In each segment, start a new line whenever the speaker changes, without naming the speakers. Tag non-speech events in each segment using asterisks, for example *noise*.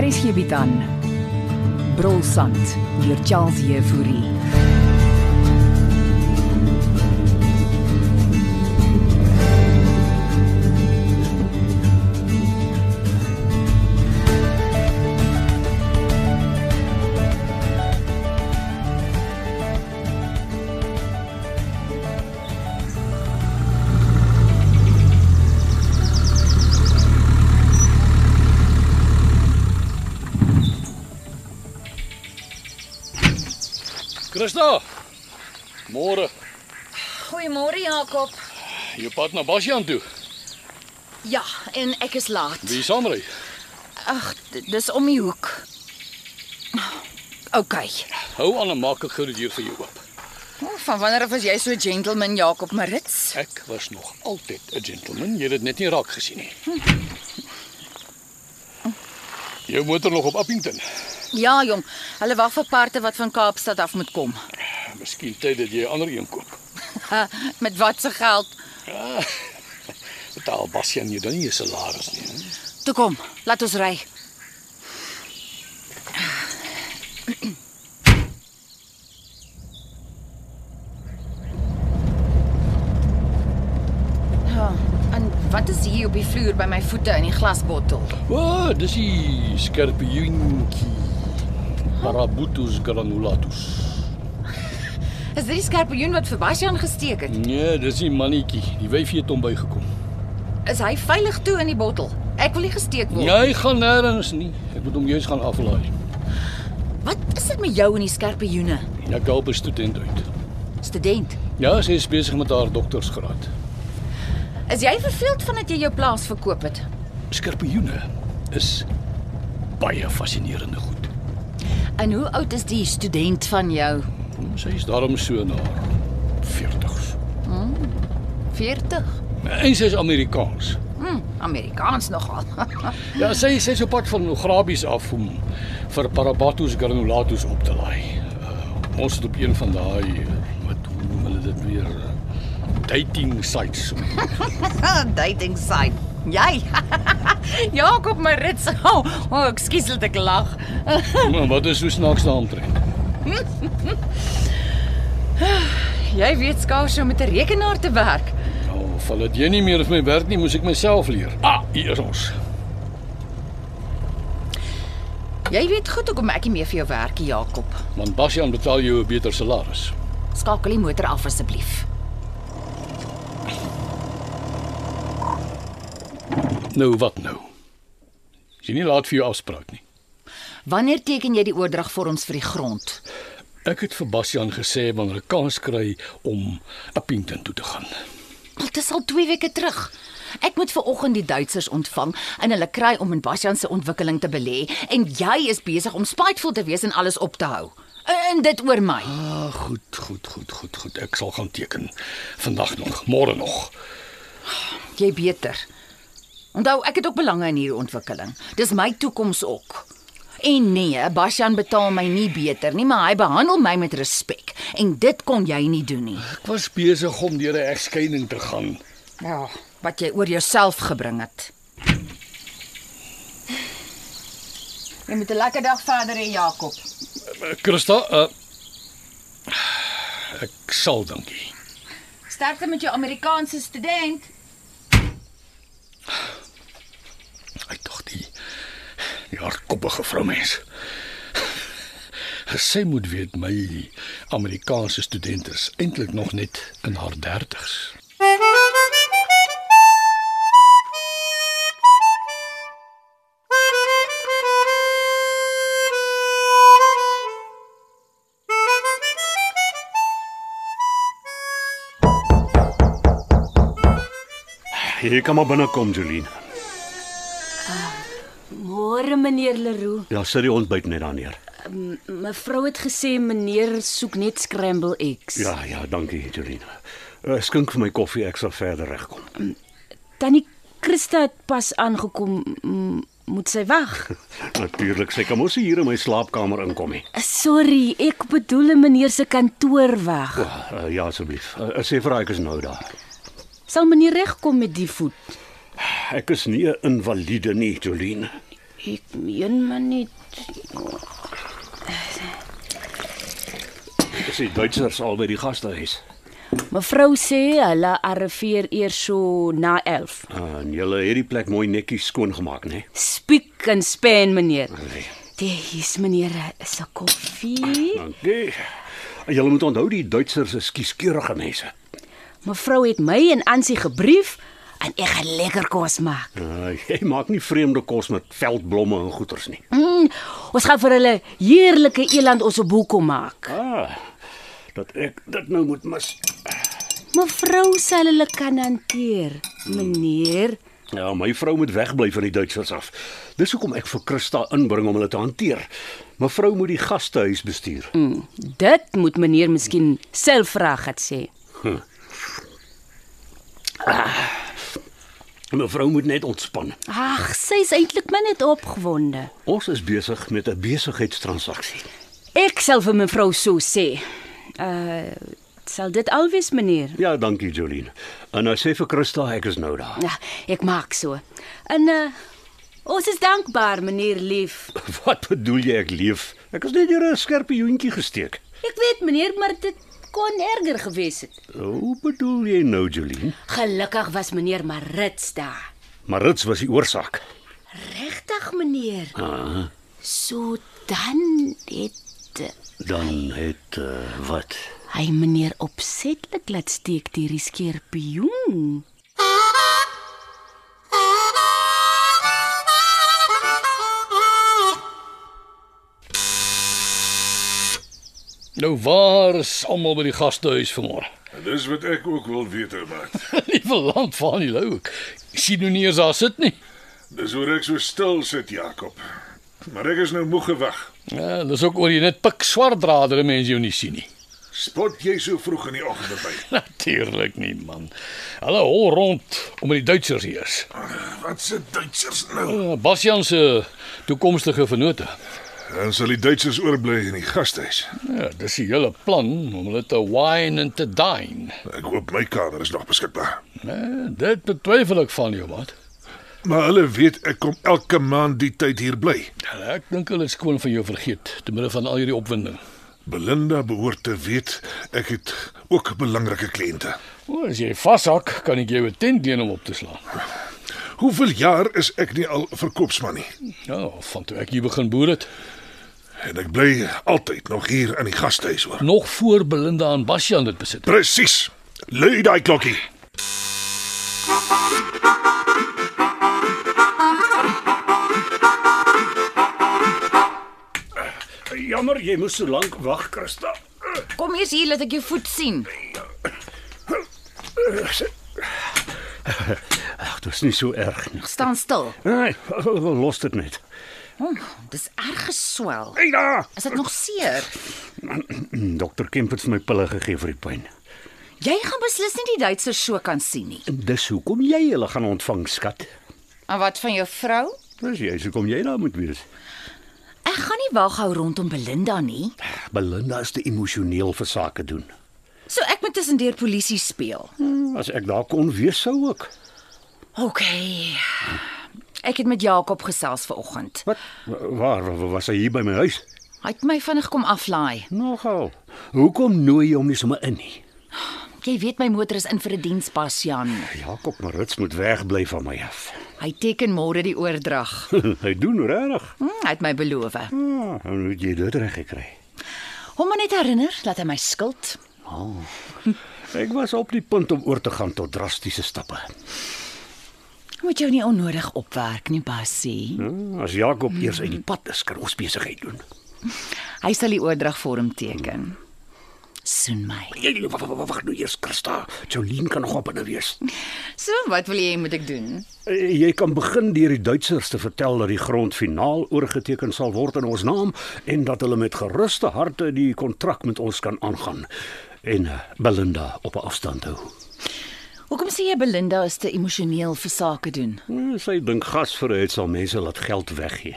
Hier is hierby dan. Brolsand deur Charles Jefouri.
Christa. Môre,
Goeiemôre *laughs* Jakob.
jy pad na Basjan toe.
Ja, en ek is laat.
Wie saamry?
Ag, d- dis om die hoek. OK.
Hou aan en maak ek gou die deur vir jou oop.
O, Van wanneer af was jy so gentleman Jakob Marits?
Ek was nog altyd 'n gentleman. Jy het dit net nie raak gesien nie. *laughs* Jou motor nog op Appington.
Ja, jong. Hulle wag vir parte wat van Kaapstad af moet kom.
Miskien tyd dat jy 'n ander een koop.
Ha, Met wat se geld?
Betaal Basjan jy dan nie jou salaris nie. He?
Toe kom, laat ons ry. Ja, en wat is hier op die vloer by my voete in die glasbottel?
O, oh, dis die skerpioentjie. Parabutus granulatus.
Is dit die skerpioen wat vir Basjan gesteek het?
Nee, dis die mannetjie. Die wyfie het hom bygekom.
Is hy veilig toe in die bottel? Ek wil nie gesteek word.
Jy gaan nêrens nie. Ek moet hom juis gaan aflaai.
Wat is dit met jou en die skerpioene?
Ek help 'n student uit.
Student,
Ja, sy is besig met haar doktorsgraad.
is jy verveeld van dat jy jou plaas verkoop het?
Skorpioene is baie fascinerende goed.
En hoe oud is die student van jou?
Hm, Sy is daarom so na haar 40s.
40.
En sy is Amerikaans.
Hm, Amerikaans nogal. *laughs*
Ja, sy sy is op pad van Grabies af om vir Parabatus granulatus op te laai. Uh, ons het op een van daai eh, wat hoe noem hulle dit weer eh, dating sites. Hm,
Dating site. Jy. *laughs* Ja, Jakob Marits. O, oh, oh, ekskuus dat ek lag.
Maar wat is so snaaks daaromtrent?
Jy weet skaars hoe om met 'n rekenaar te werk.
Nou, val dit jy nie meer vir my werk nie, moes ek myself leer. Ah, hier is ons.
Jy weet goed hoekom ek nie meer vir jou werk nie, Jakob.
Want Basjan betaal jou 'n beter salaris.
Skakel die motor af asseblief.
Nou wat nou? Is jy nie laat vir jou afspraak nie.
Wanneer teken jy die oordragvorms vir die grond?
Ek het vir Basjan gesê wanneer ek kans kry om Appington toe te gaan.
Al dis al 2 weke terug. Ek moet ver oggend die Duitsers ontvang en hulle kry om in Basjan se ontwikkeling te belê en jy is besig om spiteful te wees en alles op te hou. En dit oor my.
Ah, goed, goed, goed, goed, goed. Ek sal gaan teken. Vandag nog, môre nog.
Jy beter. Onthou, ek het ook belange in hierdie ontwikkeling. Dis my toekoms ook. En nee, Basjan betaal my nie beter nie, maar hy behandel my met respek en dit kon jy nie doen nie.
Ek was besig om deur 'n egskeiding te gaan.
Ja, wat jy oor jouself gebring het. Jy moet 'n lekker dag verder hê, Jakob.
Christa, uh, ek sal dankie.
Sterkte met jou Amerikaanse student.
Hy tog die die hardkoppige vroumens. Sy moet weet my Amerikaanse student is eintlik nog net in haar 30's.
Jy kan maar binnekom, Jolien.
Môre meneer Leroux.
Ja, sit die ontbyt net daar neer.
Mevrou het gesê meneer soek net scramble eggs.
Ja, ja, dankie, Jolien. Uh, skink vir my koffie, ek sal verder regkom.
Tannie Christa het pas aangekom. mm, moet sy
*laughs*
weg.
Natuurlik, sy kan mos nie hier in my slaapkamer inkom nie.
Eh, Sorry, ek bedoel in meneer se kantoor weg.
Uh, ja asseblief. Uh, sê vir haar ek is nou daar.
Sal meneer regkom met die voet?
Ek is nie 'n invalide nie, Jolien.
Ek meen maar net.
Dis die Duitsers al by die gastehuis.
Mevrou sê hulle arriveer eers so na 11.
Uh, en julle het die plek mooi netjies skoongemaak, né?
Spiek en span meneer.
Nee.
Dit hier's meneer se
*laughs*
koffie.
Dankie. Ah, Julle moet onthou die Duitsers is kieskeurige mense.
Mevrou het my en Ansie gebrief en ek gaan lekker kos maak.
Uh, jy maak nie vreemde kos met veldblomme en goeters nie.
Mm, ons gaan vir hulle heerlike eland ons boekom maak.
Ah. Dat ek dit nou moet mis.
Mevrou sal hulle kan hanteer, meneer.
Ja, my vrou moet wegbly van die Duitsers af. Dis hoekom ek vir Christa inbring om hulle te hanteer. Mevrou moet die gastehuis bestuur.
Mm, dit moet meneer miskien self vra gat sê.
Mevrou moet net ontspan.
Ag, sy's eintlik maar net opgewonde.
Ons is besig met 'n besigheidstransaksie.
Ek sal vir mevrou so sê. Uh sal dit alwees meneer?
Ja, dankie Jolien. En nou sê vir Christa ek is nou daar.
Ja, ek maak so. En uh ons is dankbaar meneer lief.
*laughs* Wat bedoel jy ek leef? Ek is net deur 'n skerpioentjie gesteek.
Ek weet meneer, maar dit kon erger gewees het.
Hoe bedoel jy nou Jolien?
Gelukkig was meneer Marits daar.
Maar dit was die oorsaak.
Regtig meneer.
Ah,
So dan het eh,
dan het uh, wat?
hy meneer opsetlik laat steek deur die skerpioen.
Nou waar is almal by die gastehuis vanmôre? *laughs*
Dis wat ek ook wil weet, maat.
Nie verland van die lou. Ek sien nou nie eens daar sit nie.
Dis hoor ek so stil sit, Jakob. Maar ek is nou moeg gewag.
Ja, dis ook oor jy net pik swart drader mense jou nie sien nie. *laughs*
Spot jy so vroeg in die oggend by?
Natuurlik nie, man. Hulle hol rond om die Duitsers hier is.
Ah, Wat se Duitsers nou?
Eh, Bastian se toekomstige vennote.
Dan sal die Duitsers oorbly in die gastehuis.
Ja, dis die hele plan om hulle te wine en te dine.
Ek hoop my kamer is nog beskikbaar.
Nee, dit betwyfel ek van jou, maat.
Maar hulle weet ek kom elke maand die tyd hier bly.
Ek dink hulle het skoon van jou vergeet te midde van al hierdie opwinding.
Belinda behoort te weet ek het ook belangrike kliënte.
O, as jy vashak, kan ek jou 'n tent leen om op te slaan.
Hoeveel jaar is ek nie al verkoopsman nie
Ja, van toe ek hier begin boer het,
en ek bly altyd nog hier in die gastehuis hoor.
nog voor Belinda en Bastian dit besit. het.
Presies. Lui daai klokkie.
Jammer, jy moes so lank wag, Christa.
Kom eers hier laat ek jou voet sien.
Ag, dit is nie so erg nie.
Staan stil.
Nee, los dit net.
Dis erg geswel.
Hey daar.
Is dit nog seer?
Hm, Dokter Kemp het vir my pille gegee vir die pyn.
Jy gaan beslis nie die Duitsers so kan sien nie.
Dis hoekom jy hulle gaan ontvang, skat.
En wat van jou vrou?
Dis jy, so kom jy daar moet wees.
Ek gaan nie wag hou rondom Belinda nie.
Belinda is te emosioneel vir sake doen.
So ek moet tussendeur polisie speel.
As ek daar kon wees sou ek.
OK. Ek het met Jakob gesels vanoggend.
Wat? Waar wa- was hy hier by my huis?
Hy het my vinnig kom aflaai.
Nogal. Hoekom nooi jy hom nie sommer in nie?
Jy weet my motor is in vir 'n die dienspas Jan.
Jakob Marits moet wegbly van my af. *laughs*
Hy teken môre die oordrag.
hy doen regtig.
Hm, hy het my beloof.
Ah, hoe het jy dit reg gekry?
Hom maar net herinner dat hy my skuld.
Ek was op die punt om oor te gaan tot drastiese stappe.
Moet jou nie onnodig opwerk nie, Basie.
Hmm, As Jakob eers uit die pad is, kan ons besigheid doen.
Hy sal die oordragvorm teken. Soen my.
Jy wag wag wag nou eers Christa. Jolien kan nog op binne wees.
So, wat wil jy moet ek doen?
Eh, Jy kan begin deur die Duitsers te vertel dat die grond finaal oorgeteken sal word in ons naam en dat hulle met geruste harte die kontrak met ons kan aangaan en eh, Belinda op 'n afstand hou.
Hoekom sê jy Belinda is te emosioneel vir sake doen?
Nee, Sy dink gasvryheid sal mense laat geld weggee.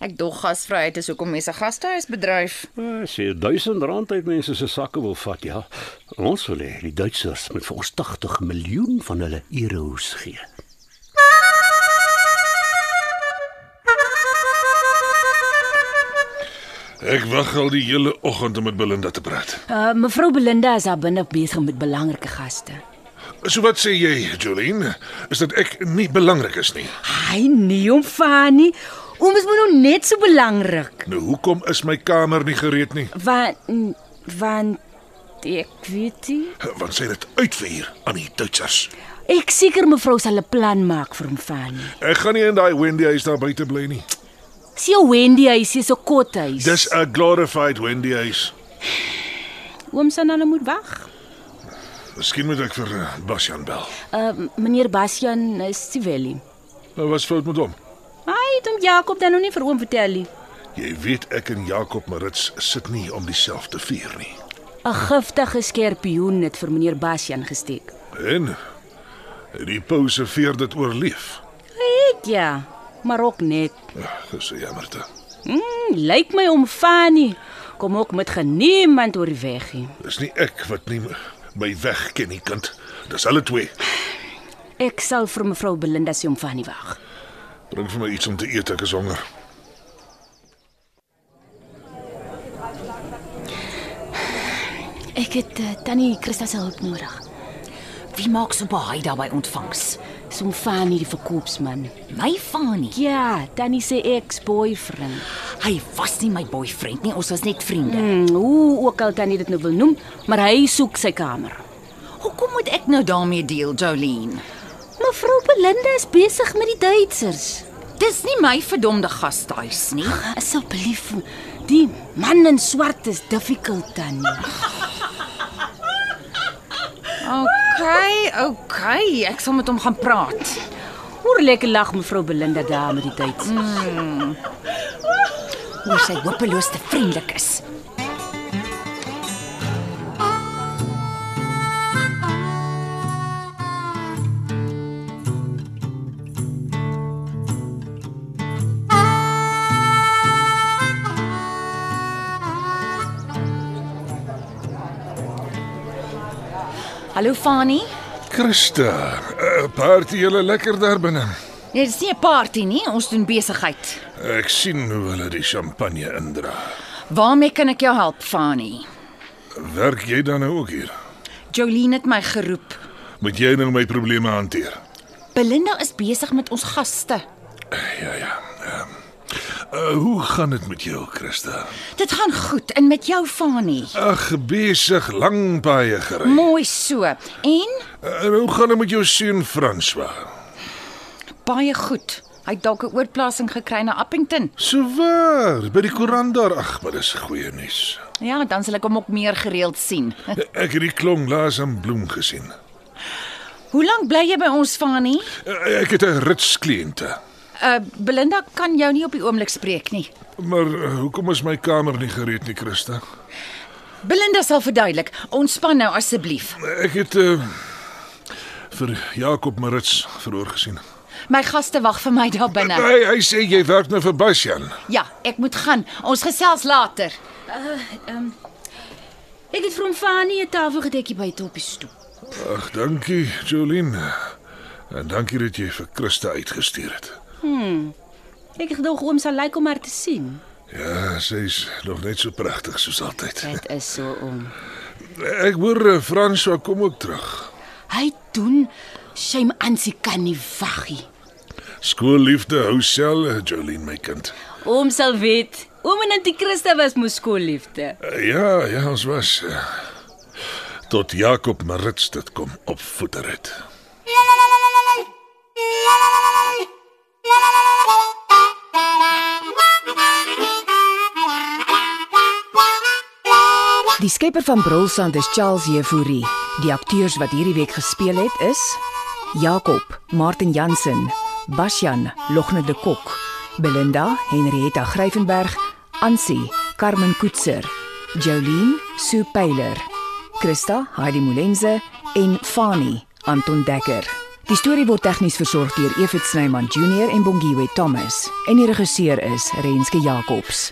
Ek dog gasvryheid is hoekom mense gastehuis bedryf.
Eh, Sy R1000 uit mense se sakke wil vat, ja. Ons wil hê die Duitsers moet vir ons 80 miljoen van hulle euros gee.
Ek wag al die hele oggend om met Belinda te praat.
Uh mevrou Belinda is daar binne besig met belangrike gaste.
So wat sê jy, Jolene? Is dit ek nie belangrik is nie?
Hy nee hom van nie. Oom is nou net so belangrik.
Nou hoekom is my kamer nie gereed nie?
Want want ek weet nie.
Want sy het dit uitvier aan die Duitsers.
Ek seker mevrou sal 'n plan maak vir hom van nie.
Ek gaan nie in daai Wendy huis daar buite bly nie.
Sien Wendy hy is so kort hy.
Dis 'n glorified Wendy huis.
oom se nou moet wag.
Miskien moet ek vir eh, Basjan bel.
Uh meneer Bastian is Siveli.
Nou was fout met hom.
Hy het hom Jakob dan nog nie vir oom vertel nie.
Jy weet ek en Jakob Marits sit nie om dieselfde vuur nie.
'n Giftige skerpioen het vir meneer Bastian gesteek.
En die pose veer dit oorleef.
Ek ja, maar ook net.
Ja, dis 'n jammerte.
Mm, lyk my om Fanny kom ook met geniemand oor die weg hier.
Dis nie ek wat nie my weg ken nie, kind. Dis hulle twee.
Ek sal vir mevrou Belinda se om Fanny wag.
Bring vir my iets om te eet, ek is honger.
Ek het uh, tannie Christa se hulp nodig.
Wie maak so baie daarby ontvangs?
Som Fanny die verkoopsman.
My Fanie.
Ja, tannie se ex-boyfriend.
Hy was nie my boyfriend nie, ons was net vriende.
Mm, hoe ook al tannie dit nou wil noem, maar hy soek sy kamer.
Hoekom moet ek nou daarmee deel, Jolene?
Mevrou Belinda is besig met die Duitsers.
Dis nie my verdomde gastehuis nie.
Asseblief, die man in swart is difficult tannie.
Okay, okay, ek sal met hom gaan praat.
Hoor lekker lag mevrou Belinda daar met die tyd.
Hoe sy hopeloos te vriendelik is. Hallo Fani.
Christa, 'n party julle lekker daar binne.
Dit is Nee, nie 'n party nie, ons doen besigheid.
Ek sien hoe hulle die champagne indra.
Waarmee kan ek jou help, Fani?
Werk jy dan nou ook hier?
Jolene het my geroep.
Moet jy nou my probleme hanteer?
Belinda is besig met ons gaste.
Ja ja. ehm. Uh, hoe gaan dit met jou, Christa?
Dit gaan goed en met jou Fani.
Ag, besig lang baie gery. Eh,
Mooi so. En
En hoe gaan dit met jou seun François?
baie goed. Hy het dalk 'n oorplasing gekry na Appington.
So waar, by die koerant daar. Ag, maar dis goeie nuus.
Ja, dan sal ek hom ook meer gereeld sien. *laughs*
Ek het die klong laas in bloem gesien.
Hoe lank bly jy by ons Fani?
Eh, Ek het 'n rits kliënte.
Uh Belinda kan jou nie op die oomblik spreek nie.
Maar eh, hoekom is my kamer nie gereed nie, Christa?
Belinda sal verduidelik. Ontspan nou asseblief.
Ek het uh, vir Jakob Marits verhoor gesien.
My gaste wag vir my daar *laughs* binne.
Hy hy sê jy werk nou vir Basjan.
Ja, ek moet gaan. Ons gesels later.
Ek het vir hom Fanny 'n tafelgedekkie by toe op die stoep.
Ag, dankie, Jolene. En dankie dat jy vir Christa uitgestuur het.
Ek het gedog oom sal lyk om haar te sien.
Ja, sy's nog net so pragtig soos altyd.
Dit is so oom.
Ek hoor eh, François kom ook terug.
Hy doen shame Ansie kan nie wag nie.
Skoolliefde hou sel, eh, Jolene my kind.
Oom sal weet. Oom en Antie Christa was mos skoolliefde.
Eh, Ja, ja, ons was eh, tot Jakob Marits dit kom opvoeder het.
Die skepper van Brolsand is Charles Jefouri. Die akteurs wat hierdie week gespeel het is Jakob, Martin Jansen, Basjan, Logne de Kok, Belinda, Henrietta Gryvenberg, Ansie, Carmen Koetser, Jolene, Sue Pyler, Christa, Heidi Molenze en Fani,
Anton Dekker. Die storie word tegnies versorg deur Evit Snyman Junior en Bongwe Thomas en die regisseur is Renske Jacobs.